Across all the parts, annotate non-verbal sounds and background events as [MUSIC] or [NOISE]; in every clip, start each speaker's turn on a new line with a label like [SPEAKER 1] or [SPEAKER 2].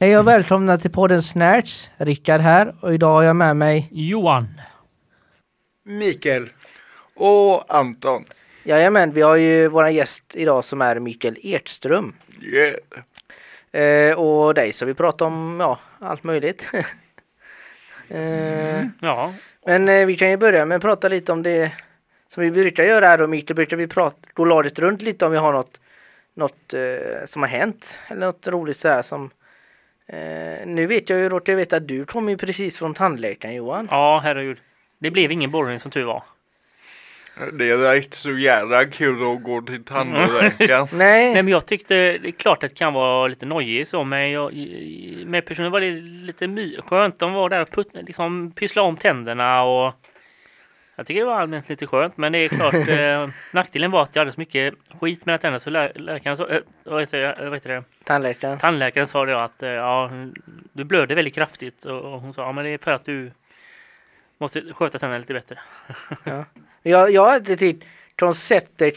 [SPEAKER 1] Hej och välkomna till podden Snatch. Rickard här och idag har jag med mig...
[SPEAKER 2] Johan.
[SPEAKER 3] Mikael och Anton.
[SPEAKER 1] Jajamän, vi har ju vår gäst idag som är Mikael Ertström.
[SPEAKER 3] Yeah.
[SPEAKER 1] Eh, och dig så vi pratar om ja, allt möjligt. [LAUGHS] eh,
[SPEAKER 2] Ja,
[SPEAKER 1] men eh, vi kan ju börja med att prata lite om det som vi brukar göra här då Mikael, brukar vi prata då ladet runt lite om vi har något, något eh, som har hänt eller något roligt sådär som eh, nu vet jag ju Roger, jag vet att du kom ju precis från tandläkaren Johan.
[SPEAKER 2] ja herregud. Det blev ingen borrning som tur var.
[SPEAKER 3] Det är rätt så jävla kul att gå till tandläkaren.
[SPEAKER 1] Nej,
[SPEAKER 2] Nej men jag tyckte, det är klart att det kan vara lite nojig så men jag, med personen var det lite my- skönt. De var där och put, liksom pysslade om tänderna och jag tycker det var allmänt lite skönt men det är klart [LAUGHS] eh, nackdelen var att jag hade så mycket skit med tänderna så lä- läkaren sa, eh, vad heter det, eh, vad heter det?
[SPEAKER 1] tandläkaren.
[SPEAKER 2] tandläkaren sa det att eh, ja, du blöder väldigt kraftigt och och hon sa ja men det är för att du måste sköta tänderna lite bättre.
[SPEAKER 1] Jag, jag har alltid tyckt konceptet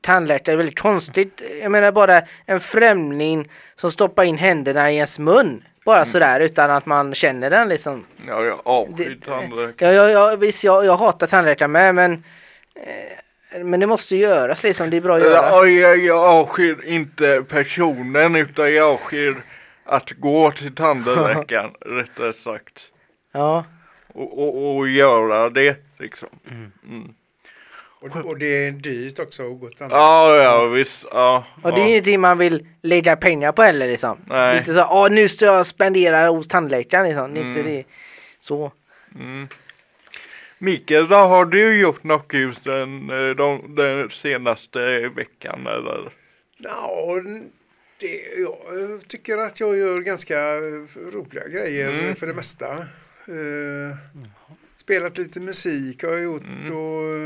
[SPEAKER 1] tandläkare är väldigt konstigt. Jag menar bara en främling som stoppar in händerna i ens mun. Bara
[SPEAKER 3] Mm.
[SPEAKER 1] sådär utan att man känner den liksom.
[SPEAKER 3] [LAUGHS] Ja, jag
[SPEAKER 1] Det-
[SPEAKER 3] avskyr tandläkaren.
[SPEAKER 1] Ja, ja, ja, visst, jag, jag hatar tandläkare med men, eh, men det måste göras liksom. Det är bra att göra.
[SPEAKER 3] Ja, jag, jag avskyr inte personen utan jag avskyr att gå till [LAUGHS] tandläkaren rättare sagt.
[SPEAKER 1] Ja.
[SPEAKER 3] Och, och, och göra det liksom.
[SPEAKER 4] Och, och det är dyrt också att gå till tandläkaren.
[SPEAKER 3] Ja, ja visst. Ja,
[SPEAKER 1] Och det är
[SPEAKER 3] ja.
[SPEAKER 1] ingenting man vill lägga pengar på heller liksom.
[SPEAKER 3] Nej.
[SPEAKER 1] Inte så åh nu ska jag spendera hos tandläkaren liksom. Det är
[SPEAKER 3] Mm.
[SPEAKER 1] inte det. Så.
[SPEAKER 3] Mikael, vad har du gjort något kul sen eh, de, den senaste veckan eller?
[SPEAKER 4] Ja, det, jag tycker att jag gör ganska roliga grejer för det mesta. Eh, spelat lite musik har jag gjort och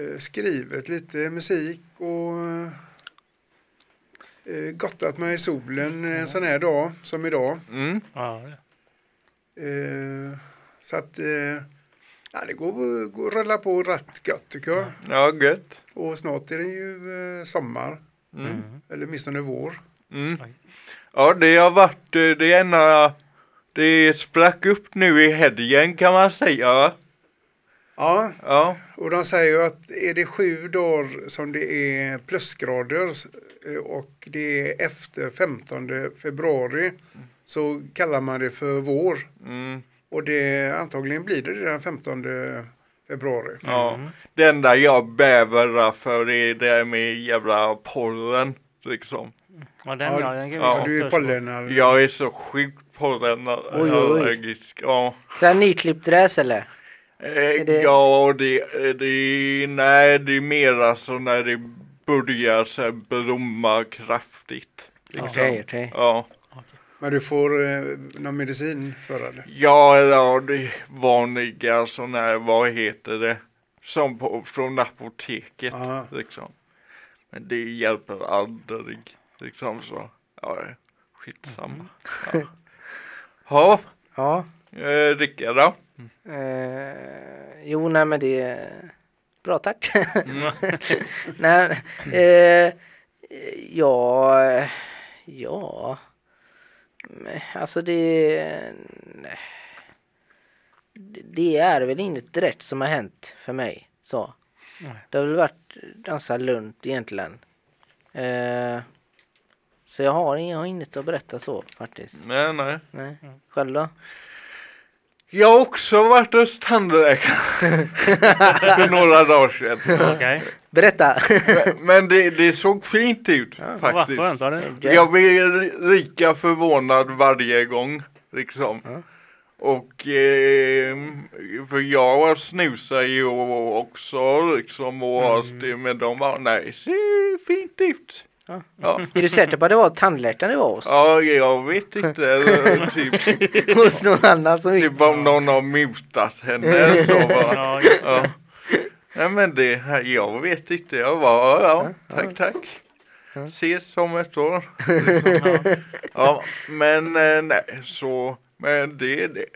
[SPEAKER 4] eh, skrivit lite musik och eh, gottat mig i solen en sån här dag som idag.
[SPEAKER 3] Mm.
[SPEAKER 2] Ja,
[SPEAKER 4] Eh, så att eh, ja, det går, går rulla på rätt gött tycker jag.
[SPEAKER 3] Ja, gött.
[SPEAKER 4] Och snart är det ju eh, sommar,
[SPEAKER 3] Mm.
[SPEAKER 4] eller åtminstone vår.
[SPEAKER 3] Mm.
[SPEAKER 2] Oj.
[SPEAKER 3] Ja, det har varit eh, det ena. Det sprack upp nu i helgen kan man säga. va?
[SPEAKER 4] Ja,
[SPEAKER 3] Ja,
[SPEAKER 4] och de säger ju att är det sju dagar som det är plusgrader eh, och det är efter 15 februari så kallar man det för vår.
[SPEAKER 3] mm,
[SPEAKER 4] Och det antagligen blir det den 15 februari.
[SPEAKER 3] ja. Det enda jag bävar för är det där med jävla pollen. Liksom.
[SPEAKER 2] ja den, ja, den kan vi
[SPEAKER 3] Ja,
[SPEAKER 2] ta
[SPEAKER 4] Så du är
[SPEAKER 2] först.
[SPEAKER 4] pollenallergisk.
[SPEAKER 3] Jag är så sjukt pollenallergisk. Ja.
[SPEAKER 1] Så här nyklippt gräs eller?
[SPEAKER 3] Eh,
[SPEAKER 1] det-
[SPEAKER 3] Ja, det, eh, det, nej, det är mer alltså när det börjar så här blomma kraftigt.
[SPEAKER 1] Okej,
[SPEAKER 3] liksom.
[SPEAKER 1] okej.
[SPEAKER 3] Ja.
[SPEAKER 4] Men du får eh, någon medicin för det.
[SPEAKER 3] Ja, eller det vanliga sådana här, vad heter det, som på, från apoteket
[SPEAKER 4] Ja.
[SPEAKER 3] liksom. Men det hjälper aldrig liksom så. Ja, skitsamma. Ja, ha,
[SPEAKER 1] Ja.
[SPEAKER 3] eh, Rickard då?
[SPEAKER 1] Eh, jo, nej men det är bra tack. [LAUGHS] nej, eh, ja, ja. Nej, Alltså det, nej. Det- det är väl inget direkt som har hänt för mig. Så.
[SPEAKER 2] Nej.
[SPEAKER 1] Det har väl varit ganska lugnt egentligen. Eh, så jag har, jag har inget att berätta så faktiskt.
[SPEAKER 3] Nej, nej.
[SPEAKER 1] Nej. Själv då?
[SPEAKER 3] Jag har också varit hos tandläkaren [LAUGHS] för några dagar sedan.
[SPEAKER 2] [LAUGHS] Okej,
[SPEAKER 1] Berätta! [LAUGHS]
[SPEAKER 3] Men det, det såg fint ut
[SPEAKER 2] vad
[SPEAKER 3] faktiskt.
[SPEAKER 2] skönt var det.
[SPEAKER 3] Jag blir lika förvånad varje gång, liksom.
[SPEAKER 1] Ja.
[SPEAKER 3] Och eh, för jag snusar ju också liksom och
[SPEAKER 1] Mm.
[SPEAKER 3] har st- men de var nej, ser fint ut.
[SPEAKER 1] Ja.
[SPEAKER 3] Ja.
[SPEAKER 1] Är du säker på att det var tandläkaren du var hos?
[SPEAKER 3] ja, jag vet inte. eller
[SPEAKER 1] [LAUGHS]
[SPEAKER 3] typ,
[SPEAKER 1] Hos någon annan som inte...
[SPEAKER 3] typ om någon har mutat henne eller så. Va?
[SPEAKER 2] Ja, just det.
[SPEAKER 3] Ja. Nej, men det här, jag vet inte. Jag var, ja, tack, tack. Ses om ett år. Ja, men eh, nej, så, men det är det.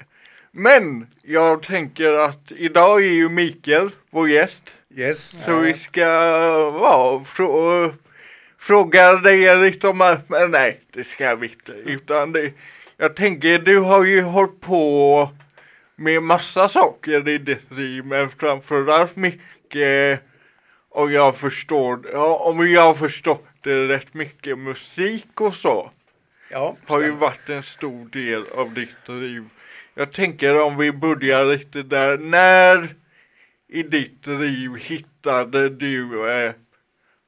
[SPEAKER 3] Men jag tänker att idag är ju Mikael vår gäst,
[SPEAKER 4] Yes.
[SPEAKER 3] så vi ska ja, frå- frågade Erik om att, men nej, det ska vi inte. Utan det, jag tänker, du har ju hållit på med massa saker i ditt liv, men framförallt mycket, och jag förstår, ja, om jag förstår det rätt mycket musik och så
[SPEAKER 4] Ja,
[SPEAKER 3] har ju
[SPEAKER 4] stämmer.
[SPEAKER 3] varit en stor del av ditt liv. Jag tänker om vi börjar lite där. När i ditt liv hittade du, eh,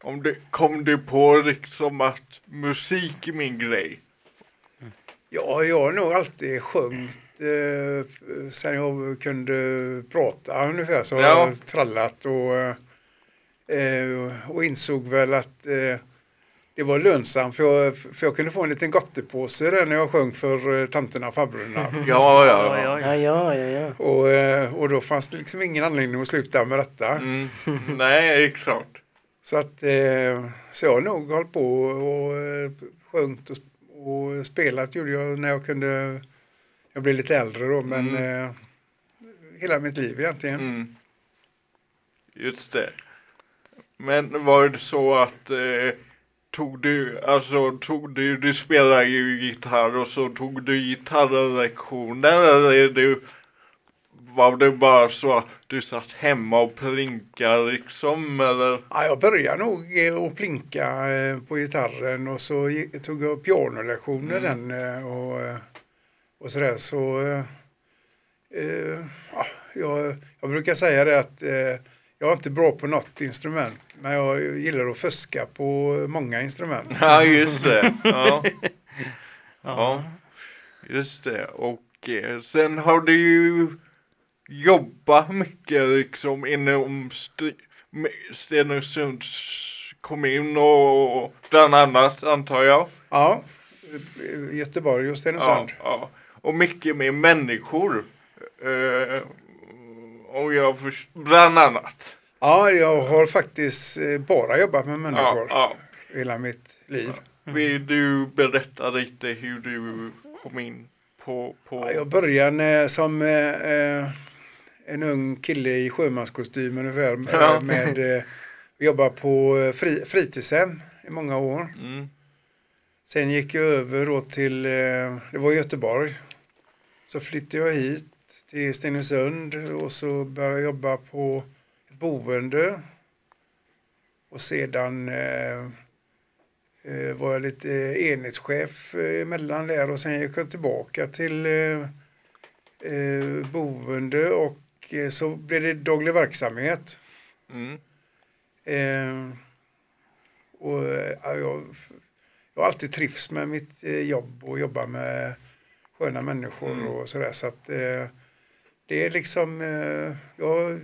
[SPEAKER 3] om du, kom du på liksom att musik är min grej?
[SPEAKER 4] ja, jag har nog alltid sjungit eh, sen jag kunde prata ungefär så har
[SPEAKER 3] Ja.
[SPEAKER 4] jag trallat och, eh, och insåg väl att eh, det var lönsamt för jag, för jag kunde få en liten gottepåse där när jag sjöng för eh, tanterna och farbröderna.
[SPEAKER 3] [LAUGHS] Ja,
[SPEAKER 2] Oj,
[SPEAKER 3] ja, ja.
[SPEAKER 2] oj.
[SPEAKER 1] Ja, ja, ja, ja.
[SPEAKER 4] Och, eh, och då fanns det liksom ingen anledning att sluta med detta.
[SPEAKER 3] Mm. Nej, det är klart.
[SPEAKER 4] Så att eh, så jag har nog hållit på och eh, sjungit och, och spelat gjorde jag när jag kunde. Jag blev lite äldre då men eh, hela mitt liv egentligen.
[SPEAKER 3] Mm. Just det. Men var det så att eh, tog du, alltså tog du, du spelar ju gitarr och så tog du gitarrlektioner eller är du, var det bara så att du satt hemma och plinkade liksom eller?
[SPEAKER 4] Ja, jag började nog eh, att plinka eh, på gitarren och så gi- tog jag pianolektioner sen eh, och, eh, och sådär så eh, eh, ja, jag, jag brukar säga det att eh, jag är inte bra på något instrument men jag gillar att fuska på många instrument.
[SPEAKER 3] Ja just det.
[SPEAKER 4] [LAUGHS]
[SPEAKER 3] Ja.
[SPEAKER 2] Ja.
[SPEAKER 3] ja. Just det. Och eh, sen har du ju jobbat mycket liksom inom St- med Stenungsunds kommun och, och bland annat antar jag.
[SPEAKER 4] Ja, Göteborg och
[SPEAKER 3] Ja,
[SPEAKER 4] Stenungsund.
[SPEAKER 3] ja. Och mycket med människor. Eh, och jag först- bland annat.
[SPEAKER 4] Ja. jag har faktiskt eh, bara jobbat med
[SPEAKER 3] Ja,
[SPEAKER 4] människor
[SPEAKER 3] ja.
[SPEAKER 4] hela mitt liv.
[SPEAKER 3] Vill du berätta lite hur du kom in på... på...
[SPEAKER 4] Ja, jag började eh, som eh, eh, en ung kille i sjömanskostym ungefär. eh,
[SPEAKER 3] Ja.
[SPEAKER 4] Med, eh, jobba på eh, fri, fritidshem i många år.
[SPEAKER 3] Mm.
[SPEAKER 4] Sen gick jag över då till, eh, det var Göteborg. Så flyttade jag hit till Stenungsund och så började jag jobba på ett boende. Och sedan eh, eh, var jag lite enhetschef eh, emellan där och sen gick jag tillbaka till eh, eh, boende och eh, så blev det daglig verksamhet.
[SPEAKER 3] Mm.
[SPEAKER 4] Eh, och, eh, ja, jag, jag har alltid trivs med mitt eh, jobb och jobba med sköna människor
[SPEAKER 3] Mm.
[SPEAKER 4] och sådär. Så att, eh, det är liksom, eh, jag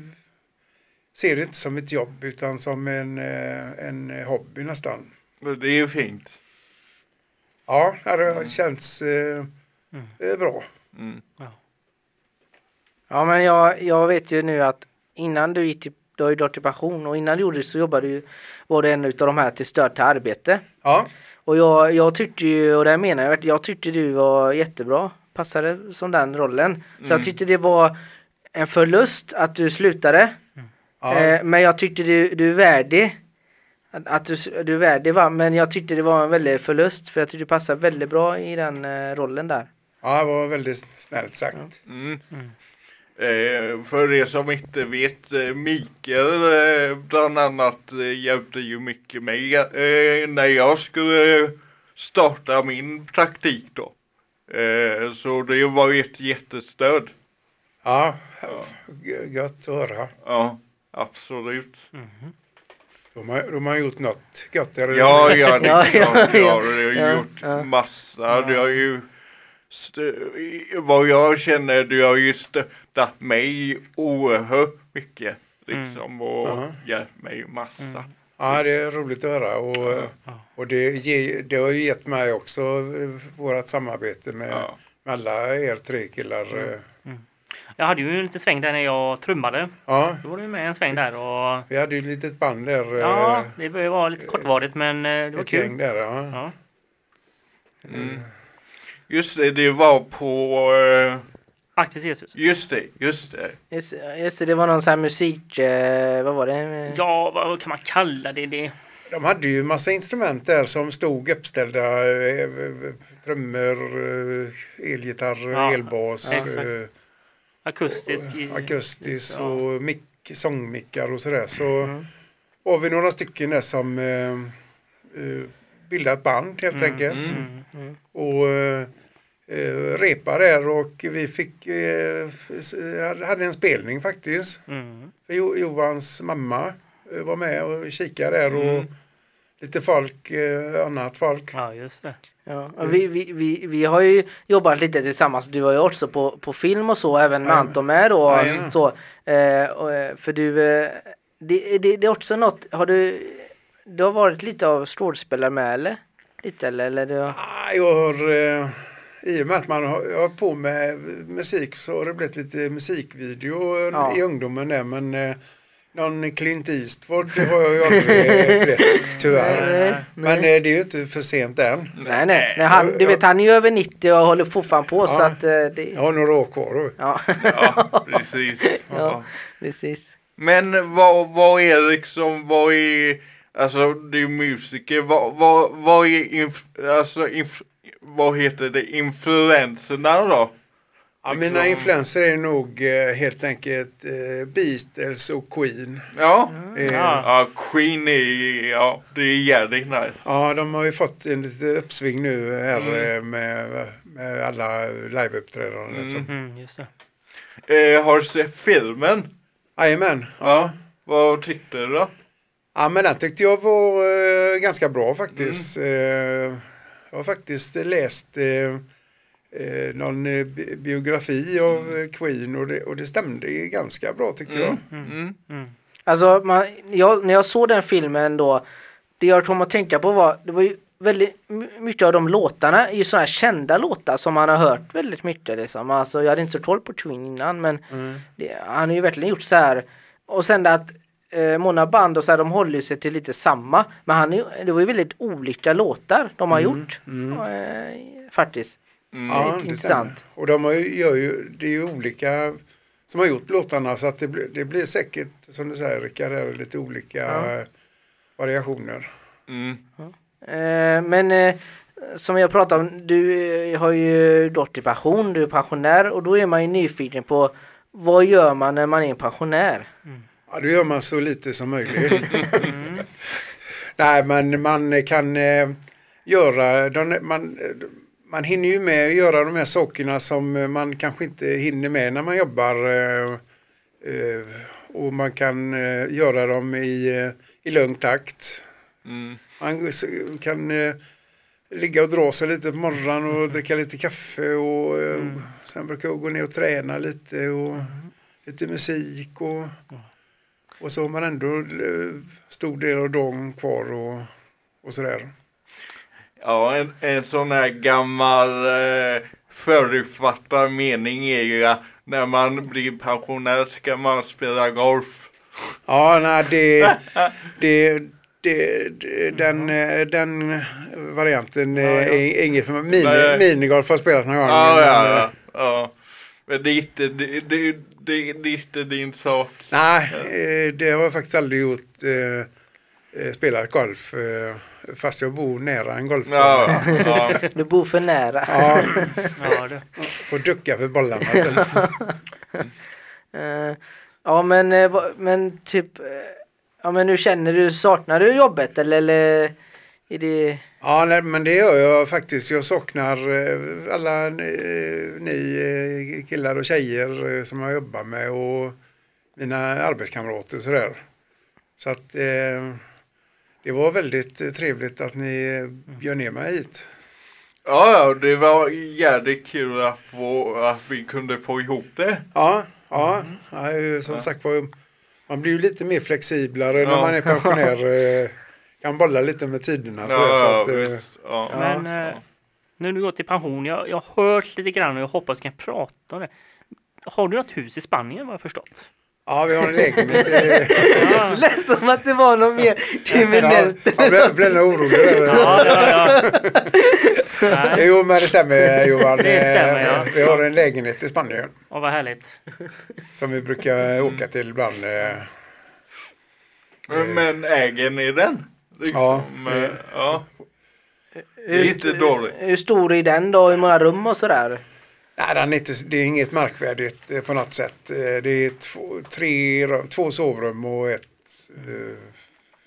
[SPEAKER 4] ser det inte som ett jobb utan som en, eh, en hobby nästan.
[SPEAKER 3] Det är ju fint.
[SPEAKER 4] Ja, det har känts eh,
[SPEAKER 2] Mm.
[SPEAKER 4] eh, bra.
[SPEAKER 3] Mm.
[SPEAKER 1] Ja, men jag, jag vet ju nu att innan du gick till, du har ju dragit till passion och innan du gjorde det så jobbade du, ju- var du en utav de här till stöd till arbete.
[SPEAKER 4] Ja,
[SPEAKER 1] Och jag, jag tyckte ju, och det här menar jag, verkligen, jag tyckte du var jättebra, passade som den rollen. Så jag
[SPEAKER 3] Mm.
[SPEAKER 1] tyckte det var en förlust att du slutade.
[SPEAKER 4] ja,
[SPEAKER 1] Eh, men jag tyckte du, du är värdig. Att, att du, s- du är värdig va, men jag tyckte det var en väldig förlust för jag tyckte du passade väldigt bra i den eh, rollen där.
[SPEAKER 4] ja, det var väldigt snällt sagt.
[SPEAKER 3] Mm. Eh, för er som inte vet, eh, Mikael eh, bland annat eh, hjälpte ju mycket mig eh, när jag skulle starta min praktik då. Eh, så det var ju ett jättestöd.
[SPEAKER 4] Ja,
[SPEAKER 3] Ja,
[SPEAKER 4] g- gött att höra.
[SPEAKER 3] ja absolut.
[SPEAKER 4] De har, de har gjort något gött. eller?
[SPEAKER 3] Ja, ja, det
[SPEAKER 1] Ja,
[SPEAKER 3] är klart.
[SPEAKER 1] ja,
[SPEAKER 3] Ja, du har
[SPEAKER 1] ja,
[SPEAKER 3] gjort
[SPEAKER 1] ja.
[SPEAKER 3] massa. Du har ju, stö, vad jag känner, du har ju stöttat mig oerhört mycket. Liksom,
[SPEAKER 1] Mm.
[SPEAKER 3] och
[SPEAKER 4] Ja.
[SPEAKER 3] hjälpt mig massa.
[SPEAKER 4] Ja, det är roligt att höra och, och det, ge, det har ju gett mig också eh, vårt samarbete med,
[SPEAKER 3] Ja.
[SPEAKER 4] med alla er tre killar. eh.
[SPEAKER 2] Jag hade ju en liten sväng där när jag trummade.
[SPEAKER 4] Ja,
[SPEAKER 2] Då var du med en sväng där och
[SPEAKER 4] vi hade ju ett litet band där. eh,
[SPEAKER 2] ja, det bör ju vara lite kortvarigt men eh, det var
[SPEAKER 4] ett
[SPEAKER 2] kul.
[SPEAKER 4] gäng där. Ja.
[SPEAKER 2] Ja.
[SPEAKER 3] Mm. Just det, det var på... eh,
[SPEAKER 2] Aktivt Jesus.
[SPEAKER 3] Just det, just det.
[SPEAKER 1] Just, just det, det var någon sån här musik, eh, vad var det?
[SPEAKER 2] Ja, vad vad kan man kalla det? det?
[SPEAKER 4] De hade ju massa instrument där som stod uppställda. eh, Trummor, eh, elgitarr,
[SPEAKER 2] Ja,
[SPEAKER 4] elbas,
[SPEAKER 2] exakt.
[SPEAKER 4] eh,
[SPEAKER 2] Akustisk. i-
[SPEAKER 4] akustisk
[SPEAKER 2] ja.
[SPEAKER 4] och mick, sångmickar och sådär. Så
[SPEAKER 2] Mm.
[SPEAKER 4] var vi några stycken där som eh, eh, bildade ett band helt
[SPEAKER 2] Mm,
[SPEAKER 4] enkelt.
[SPEAKER 2] Mm.
[SPEAKER 4] och eh, eh, repa där och vi fick, eh, s- eh, hade en spelning faktiskt.
[SPEAKER 2] Mm.
[SPEAKER 4] För Jo- Johans mamma eh, var med och kikade där
[SPEAKER 1] Mm.
[SPEAKER 4] och lite folk, eh, annat folk.
[SPEAKER 2] Ja, just det.
[SPEAKER 1] Ja, och vi, vi, vi, vi har ju jobbat lite tillsammans, du har ju också på, på film och så, även med
[SPEAKER 4] Ja.
[SPEAKER 1] Anton med då. Mm,
[SPEAKER 4] Ja, ja.
[SPEAKER 1] Så, eh, och, eh, för du, eh, det, det, det är också något, har du, du har varit lite av skådespelare med eller? Lite eller? eller du, har-
[SPEAKER 4] Ah, Jag har, eh, I och med att man har jag har på med musik så har det blivit lite musikvideo eh,
[SPEAKER 1] Ja.
[SPEAKER 4] i ungdomen där men eh, någon Clint Eastwood det har jag ju aldrig [LAUGHS] eh, blivit tyvärr.
[SPEAKER 1] Nej,
[SPEAKER 4] Men eh,
[SPEAKER 1] nej.
[SPEAKER 4] det är ju inte för sent än.
[SPEAKER 1] nej, nej. Men han, du vet, han är ju över 90 och håller fortfarande på så
[SPEAKER 4] Ja.
[SPEAKER 1] att eh, det,
[SPEAKER 4] Jag har några år kvar då.
[SPEAKER 1] ja, [LAUGHS]
[SPEAKER 3] Ja, precis.
[SPEAKER 1] Ja. precis.
[SPEAKER 3] Men vad, vad är liksom, vad är, alltså det är ju musiker, vad, vad, vad är, inf, alltså inf, vad heter det, influenserna då?
[SPEAKER 4] Ja,
[SPEAKER 3] Liksom-
[SPEAKER 4] mina influenser är nog eh, helt enkelt eh, Beatles och Queen.
[SPEAKER 3] Ja,
[SPEAKER 4] Eh,
[SPEAKER 2] Ja.
[SPEAKER 3] ja Queen är, ja det är jävligt nice.
[SPEAKER 4] Ja, de har ju fått en liten uppsving nu här eh, med, med alla liveuppträdanden. Mm.
[SPEAKER 2] Mm, just det.
[SPEAKER 3] Eh, har du sett filmen?
[SPEAKER 4] Jajamän.
[SPEAKER 3] Ja. Vad tyckte du då?
[SPEAKER 4] Ja, men den tyckte jag var eh, ganska bra faktiskt. Eh, jag har faktiskt läst eh, eh, någon eh, bi- biografi av eh, Queen och det, och det stämde ju ganska bra tyckte jag.
[SPEAKER 3] Mm.
[SPEAKER 1] Alltså, man, jag, när jag såg den filmen då, det jag kom att tänka på var, det var ju väldigt my- mycket av de låtarna är ju sådana här kända låtar som man har hört väldigt mycket liksom. Alltså jag hade inte så koll på Twin innan men
[SPEAKER 4] Mm.
[SPEAKER 1] det, han har ju verkligen gjort så här. Och sen det att eh, många band och så här, de håller ju sig till lite samma. Men han, är ju- det var ju väldigt olika låtar de har gjort. Eh, faktiskt.
[SPEAKER 4] Mm. Ja,
[SPEAKER 1] Det är
[SPEAKER 4] det
[SPEAKER 1] intressant.
[SPEAKER 4] stämmer. Och de har ju, gör ju, det är ju olika som har gjort låtarna så att det, blir- det blir säkert, som du säger Rickard, här, lite olika eh, variationer.
[SPEAKER 3] Mm.
[SPEAKER 1] Eh, men eh, som jag pratade om, du eh, har ju gått i pension, du är pensionär och då är man ju nyfiken på vad gör man när man är en pensionär?
[SPEAKER 4] Ja, då gör man så lite som möjligt. [LAUGHS] Nej, men man kan eh, göra, de, man, eh, man hinner ju med att göra de här sakerna som eh, man kanske inte hinner med när man jobbar. Eh, eh, och man kan eh, göra dem i, eh, i lugn takt.
[SPEAKER 3] Mm.
[SPEAKER 4] Man s- kan eh, ligga och dra sig lite på morgonen
[SPEAKER 3] Mm.
[SPEAKER 4] och dricka lite kaffe och eh, sen brukar jag gå ner och träna lite och lite musik och, och så har man ändå eh, stor del av dagen kvar och, och sådär.
[SPEAKER 3] Ja, en, en sån här gammal eh, förutfattad mening är ju att när man blir pensionär ska man spela golf.
[SPEAKER 4] Ja, nej,
[SPEAKER 3] [LAUGHS]
[SPEAKER 4] det, det, det, det den, eh, den varianten eh, är inget för mig. Mini,
[SPEAKER 3] Nej.
[SPEAKER 4] minigolf har jag spelat några gånger.
[SPEAKER 3] Ja,
[SPEAKER 4] men,
[SPEAKER 3] ja,
[SPEAKER 4] eh,
[SPEAKER 3] ja. ja. Men det är inte, det, det, det, det är inte din sak.
[SPEAKER 4] Nej, eh, det har jag faktiskt aldrig gjort. eh, eh, Spelat golf, eh, fast jag bor nära en golfbana.
[SPEAKER 3] Ja, ja.
[SPEAKER 1] Du bor för nära.
[SPEAKER 4] Ja,
[SPEAKER 2] Ja, det.
[SPEAKER 4] får ducka för bollarna.
[SPEAKER 1] Eh, ja men, eh, vad- men typ, eh, ja men nu känner du, saknar du jobbet eller, eller är det,
[SPEAKER 4] Ja, nej, men det gör jag faktiskt. Jag saknar eh, alla eh, ni eh, killar och tjejer eh, som jag jobbar med och mina arbetskamrater och sådär. Så att eh, det var väldigt eh, trevligt att ni eh, bjöd ner mig hit.
[SPEAKER 3] ja, ja, det var jävligt kul att, få, att vi kunde få ihop det.
[SPEAKER 4] Ja, ja. ja ju, som sagt var, man blir ju lite mer flexiblare när
[SPEAKER 3] Ja.
[SPEAKER 4] man är pensionär. eh, Kan bolla lite med tiderna. så, där, så
[SPEAKER 3] Ja,
[SPEAKER 4] att,
[SPEAKER 3] ja,
[SPEAKER 4] eh,
[SPEAKER 3] visst. ja.
[SPEAKER 2] Men eh, nu när du går till pension, jag, jag har hört lite grann och jag hoppas du kan prata om det. Har du något hus i Spanien vad jag förstått?
[SPEAKER 4] ja, vi har en lägenhet. eh,
[SPEAKER 1] [LAUGHS] det lät som att det var något mer
[SPEAKER 4] ja,
[SPEAKER 1] kriminellt.
[SPEAKER 4] Jag blev- blev nog orolig. där.
[SPEAKER 2] Ja, ja, ja. Nej.
[SPEAKER 4] Jo, men det stämmer Johan.
[SPEAKER 2] Det stämmer,
[SPEAKER 4] Eh,
[SPEAKER 2] ja.
[SPEAKER 4] Vi har en lägenhet i Spanien
[SPEAKER 2] Ja, vad härligt.
[SPEAKER 4] som vi brukar åka till ibland. eh.
[SPEAKER 3] Men, men äger ni den? Liksom.
[SPEAKER 4] Ja.
[SPEAKER 3] Eh, ja.
[SPEAKER 1] Hur,
[SPEAKER 3] är inte dåligt.
[SPEAKER 1] Hur stor är den då? Hur många rum och sådär?
[SPEAKER 4] Nej, den är inte, det är inget märkvärdigt eh, på något sätt. Eh, Det är två, tre, rum- två sovrum och ett eh,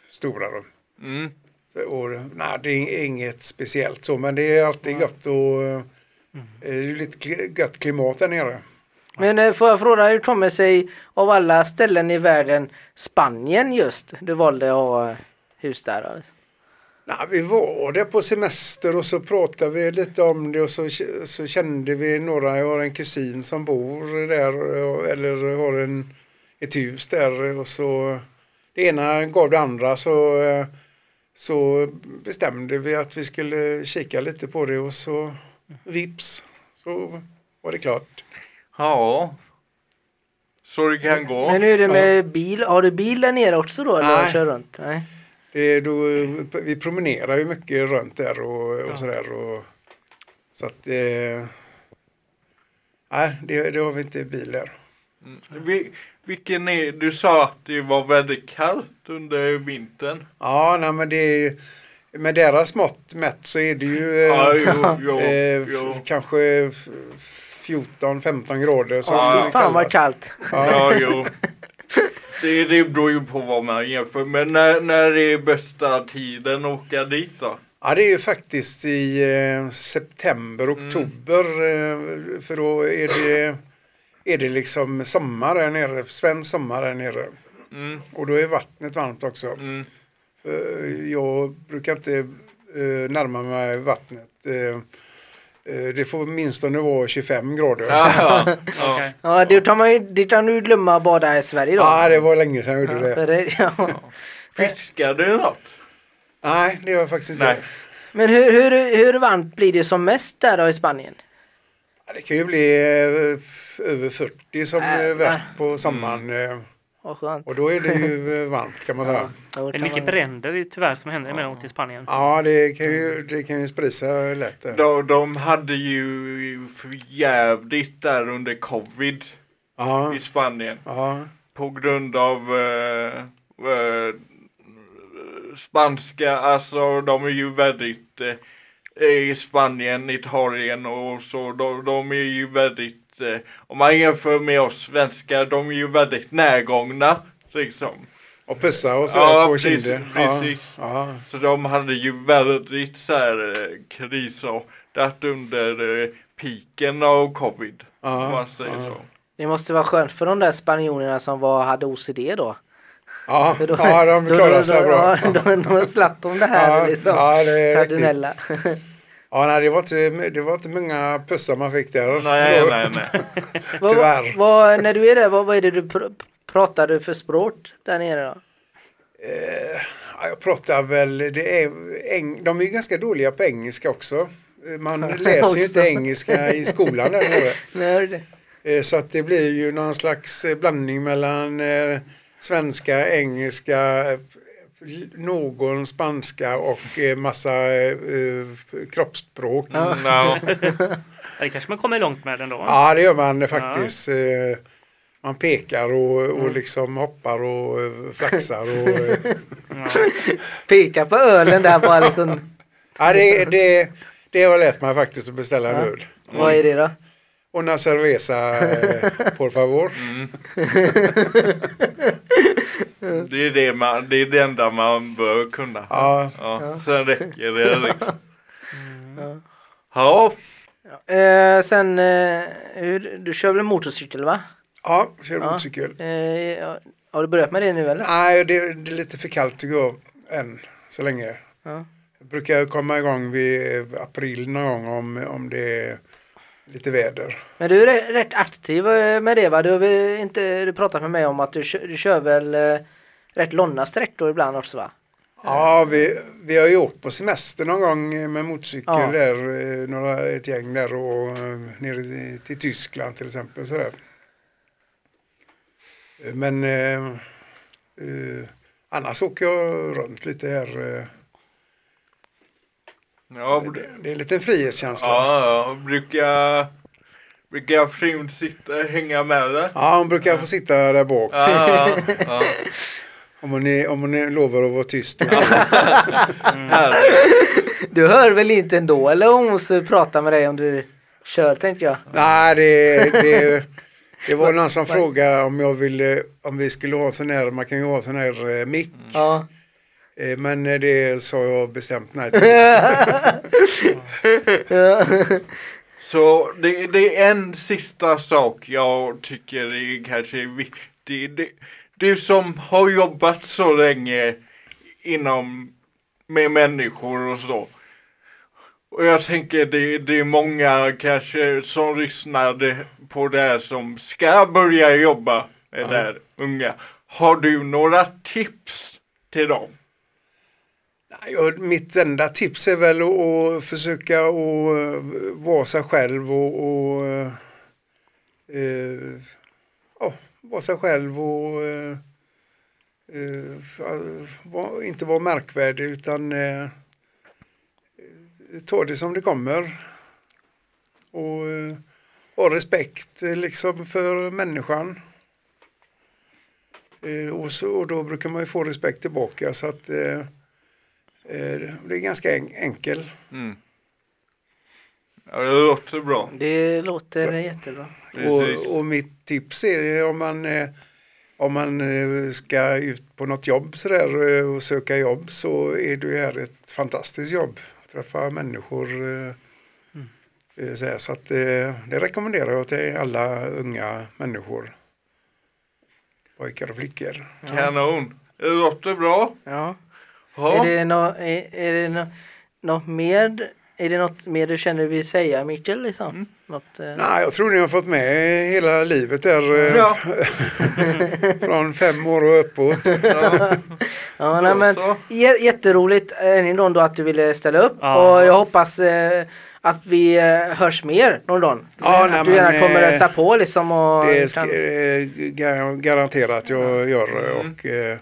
[SPEAKER 4] stora rum.
[SPEAKER 3] Mm.
[SPEAKER 4] Så- Och, nej, det är inget speciellt så, men det är alltid gött och eh, det är lite kli- gött klimat där nere.
[SPEAKER 1] Men eh, får jag fråga, hur kommer sig av alla ställen i världen Spanien just? Du valde att ha eh, hus där. Alltså.
[SPEAKER 4] Nej, vi var där på semester och så pratade vi lite om det och så, så kände vi några, jag har en kusin som bor där och- eller har en, ett hus där och så det ena gav det andra så, eh, så bestämde vi att vi skulle kika lite på det och så vips så var det klart.
[SPEAKER 3] ja. Så det kan gå.
[SPEAKER 1] Men hur är det med bil? Har du bil där nere också då? Eller
[SPEAKER 4] Nej.
[SPEAKER 1] kör runt? Nej.
[SPEAKER 4] Det, är Eh, då, vi promenerar ju mycket runt där och, och sådär. Och, så att eh, nej, det, det har vi inte i bil där.
[SPEAKER 3] Vi, vilken är, du sa att det var väldigt kallt under vintern.
[SPEAKER 4] Ja, nej, men det är ju- med deras mått mätt så är det ju eh,
[SPEAKER 3] Ja, jo, jo,
[SPEAKER 4] [LAUGHS] eh, f-
[SPEAKER 3] jo.
[SPEAKER 4] kanske f- 14-15 grader. Så
[SPEAKER 1] Ja,
[SPEAKER 4] det
[SPEAKER 1] fy
[SPEAKER 4] är
[SPEAKER 1] fan vad
[SPEAKER 4] kallast.
[SPEAKER 1] kallt.
[SPEAKER 3] Ja, jo. Det, det beror ju på vad man jämför Men när, när är bästa tiden att åka dit då?
[SPEAKER 4] Ja, det är ju faktiskt i eh, september, oktober. Eh, för då är det, är det liksom sommar här nere, svensk sommar här nere.
[SPEAKER 3] Mm,
[SPEAKER 4] Och då är vattnet varmt också.
[SPEAKER 3] mm,
[SPEAKER 4] Eh, Jag brukar inte eh, närma mig vattnet. Eh, eh, Det får åtminstone vara 25 grader. Ja,
[SPEAKER 3] ja, ja.
[SPEAKER 2] Okej.
[SPEAKER 1] Ja, det tar man ju, det tar nu glömma att bada i Sverige då.
[SPEAKER 4] det var länge sedan jag
[SPEAKER 1] Ja,
[SPEAKER 4] gjorde det.
[SPEAKER 1] för det- ja.
[SPEAKER 3] Fiskar du något?
[SPEAKER 4] Nej, det var jag faktiskt inte.
[SPEAKER 3] Nej.
[SPEAKER 1] Men hur, hur, hur varmt blir det som mest där då i Spanien?
[SPEAKER 4] Ja, Det kan ju bli eh, f- över 40 som
[SPEAKER 1] Äh,
[SPEAKER 4] är värst på sommaren. eh,
[SPEAKER 1] Vad skönt.
[SPEAKER 4] Och då är det ju eh, varmt kan man säga.
[SPEAKER 1] Då
[SPEAKER 2] Det är
[SPEAKER 1] kan
[SPEAKER 2] mycket
[SPEAKER 1] man-
[SPEAKER 2] bränder det är tyvärr som händer emellanåt i Spanien.
[SPEAKER 4] Ja, det kan ju, det kan ju sprida sig lätt. eh. där.
[SPEAKER 3] De, de hade ju för jävligt där under covid
[SPEAKER 4] Ja,
[SPEAKER 3] i Spanien.
[SPEAKER 4] ja.
[SPEAKER 3] På grund av eh, eh, spanska, alltså de är ju väldigt eh, i Spanien, Italien och så, de, de är ju väldigt, eh, om man jämför med oss svenskar, de är ju väldigt närgångna. Liksom.
[SPEAKER 4] Och pussa och så
[SPEAKER 3] Ja,
[SPEAKER 4] på
[SPEAKER 3] precis,
[SPEAKER 4] kinden.
[SPEAKER 3] precis.
[SPEAKER 4] Ja, ja.
[SPEAKER 3] Så de hade ju väldigt så här eh, krisartat under eh, piken av covid.
[SPEAKER 4] Ja,
[SPEAKER 3] om man säger
[SPEAKER 4] ja.
[SPEAKER 3] så.
[SPEAKER 1] Det måste vara skönt för de där spanjorerna som var, hade OCD då.
[SPEAKER 4] Ja,
[SPEAKER 1] För då-
[SPEAKER 4] ja, de klarar sig
[SPEAKER 1] då,
[SPEAKER 4] [LAUGHS] bra.
[SPEAKER 1] Då, då, då slapp de det här
[SPEAKER 4] Ja,
[SPEAKER 1] liksom,
[SPEAKER 4] ja, det är
[SPEAKER 1] traditionella.
[SPEAKER 4] Ja, nej, det var inte, det var inte många pussar man fick där.
[SPEAKER 3] Nej,
[SPEAKER 4] Då-
[SPEAKER 3] nej, nej.
[SPEAKER 1] [LAUGHS] Vad-
[SPEAKER 4] Tyvärr.
[SPEAKER 1] vad, när du är där, vad, vad är det du pr pratar du för språk där nere då?
[SPEAKER 4] Ja, jag pratar väl, det är, eng, de är ju ganska dåliga på engelska också.
[SPEAKER 1] [LAUGHS]
[SPEAKER 4] Eh, Man läser ju inte
[SPEAKER 1] också.
[SPEAKER 4] engelska i skolan där nere.
[SPEAKER 1] Nej, det-
[SPEAKER 4] Eh, Så att det blir ju någon slags eh, blandning mellan eh, svenska, engelska, eh, någon spanska och eh, massa eh, eh, kroppsspråk.
[SPEAKER 3] No.
[SPEAKER 2] Ja, Det kanske man kommer långt med ändå.
[SPEAKER 4] Ja, det gör man faktiskt. Eh, Man pekar och, och liksom hoppar och eh, flaxar. [LAUGHS] Och, eh,
[SPEAKER 2] Ja.
[SPEAKER 1] Peka på ölen där bara [LAUGHS] liksom.
[SPEAKER 4] ja, det, det, det har lärt mig faktiskt att beställa en öl.
[SPEAKER 1] Vad är det då?
[SPEAKER 4] Una cerveza, eh, por favor.
[SPEAKER 3] Det är det, man, det är det enda man bör kunna. Ja.
[SPEAKER 4] Ja,
[SPEAKER 3] Sen räcker det
[SPEAKER 4] [LAUGHS]
[SPEAKER 3] liksom. Ja,
[SPEAKER 1] Eh, sen, eh, hur, du kör väl motorcykel va?
[SPEAKER 4] ja kör motorcykel.
[SPEAKER 1] Eh, ja, har du börjat med det nu eller?
[SPEAKER 4] Nej, det, det är lite för kallt tycker jag än så länge.
[SPEAKER 1] Ja.
[SPEAKER 4] Jag brukar komma igång vid eh, april någon gång om, om det är lite väder.
[SPEAKER 1] Men du är re- rätt aktiv eh, med det va? Du har väl inte du pratat med mig om att du kör, du kör väl eh, rätt långa sträckor ibland också va?
[SPEAKER 4] Ja, vi, vi har ju åkt på semester någon gång med motorcykel
[SPEAKER 1] Ja.
[SPEAKER 4] där, eh, några, ett gäng där och eh, nere i- till Tyskland till exempel. Sådär. Eh, Men eh, eh, annars åker jag runt lite här. Eh,
[SPEAKER 3] ja,
[SPEAKER 4] det,
[SPEAKER 3] br-
[SPEAKER 4] det är en liten frihetskänsla. Ja.
[SPEAKER 3] ja, ja. brukar, brukar frun sitta hänga med där?
[SPEAKER 4] hon brukar få sitta där bak.
[SPEAKER 3] Ja, ja, ja.
[SPEAKER 4] Om hon, är, om hon är, lovar att vara tyst.
[SPEAKER 1] Du hör väl inte ändå eller hon måste prata med dig om du kör tänkte jag.
[SPEAKER 4] [LAUGHS] Nej, det, det, det var någon som frågade om jag ville, om vi skulle ha sån här, man kan ju ha sån här eh, mick.
[SPEAKER 1] Ja.
[SPEAKER 4] Eh, Men det sa jag bestämt nej till.
[SPEAKER 3] Så det, det är en sista sak jag tycker är kanske viktig. Det, du som har jobbat så länge inom med människor och så. Och jag tänker det, det är många kanske som lyssnar på det här som ska börja jobba med det här unga. Har du några tips till dem?
[SPEAKER 4] Nej, och Mitt enda tips är väl att, att försöka att vara sig själv och, och eh, ja, vara sig själv och eh, eh, va- inte vara märkvärdig utan eh, ta det som det kommer. Och eh, ha respekt eh, liksom för människan. Eh, och, så, och då brukar man ju få respekt tillbaka så att eh, Eh, Det är ganska en- enkel.
[SPEAKER 1] Mm.
[SPEAKER 3] Ja, det låter bra.
[SPEAKER 1] Det låter jättebra.
[SPEAKER 3] Precis.
[SPEAKER 4] Och, och mitt tips är om man, eh, om man eh, ska ut på något jobb så där, eh, och söka jobb så är det här ett fantastiskt jobb. Att träffa människor. eh, eh, Så, här, så att, eh, det rekommenderar jag till alla unga människor. Pojkar och flickor.
[SPEAKER 3] Kanon. Det låter bra.
[SPEAKER 1] Ja.
[SPEAKER 3] Ja.
[SPEAKER 1] Är det, nå är, är det nå något mer? Är det något mer du känner du vill säga Mikael? Liksom?
[SPEAKER 4] Mm.
[SPEAKER 1] Något, eh,
[SPEAKER 4] Nej, jag tror ni har fått med hela livet där. eh,
[SPEAKER 3] Ja.
[SPEAKER 4] [LAUGHS] Från fem år och uppåt.
[SPEAKER 1] ja, nej, men,
[SPEAKER 3] så.
[SPEAKER 1] jä- jätteroligt än en gång då att du ville ställa upp
[SPEAKER 2] Ja.
[SPEAKER 1] och jag hoppas eh, att vi eh, hörs mer någon dag.
[SPEAKER 4] Ja,
[SPEAKER 1] att
[SPEAKER 4] nej,
[SPEAKER 1] du gärna
[SPEAKER 4] men,
[SPEAKER 1] kommer
[SPEAKER 4] eh,
[SPEAKER 1] hälsa på liksom. Och,
[SPEAKER 4] Det ska, eh, gar- garanterat att jag gör. Och, eh,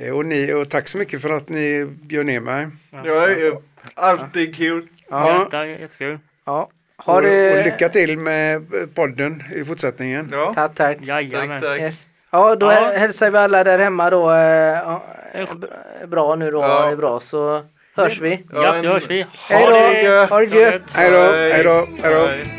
[SPEAKER 4] eh, och, ni, och tack så mycket för att ni bjöd ner mig.
[SPEAKER 3] Ja, ja. Alltid kul.
[SPEAKER 1] ja,
[SPEAKER 2] Jätte, jättekul.
[SPEAKER 1] ja.
[SPEAKER 4] Och,
[SPEAKER 1] Ha det.
[SPEAKER 4] och lycka till med podden i fortsättningen.
[SPEAKER 3] Ja.
[SPEAKER 1] Tack, tack.
[SPEAKER 2] Jajamän.
[SPEAKER 3] Tack, tack.
[SPEAKER 1] Yes. Ja, då
[SPEAKER 2] Ja.
[SPEAKER 1] hä- hälsar vi alla där hemma då. eh, ja, b- Bra nu då,
[SPEAKER 3] Ja.
[SPEAKER 1] ha det bra så hörs vi.
[SPEAKER 2] Ja, då hörs vi.
[SPEAKER 1] Hej då! Ha det gött!
[SPEAKER 4] Hej då, hej då, hej då.
[SPEAKER 3] Hej.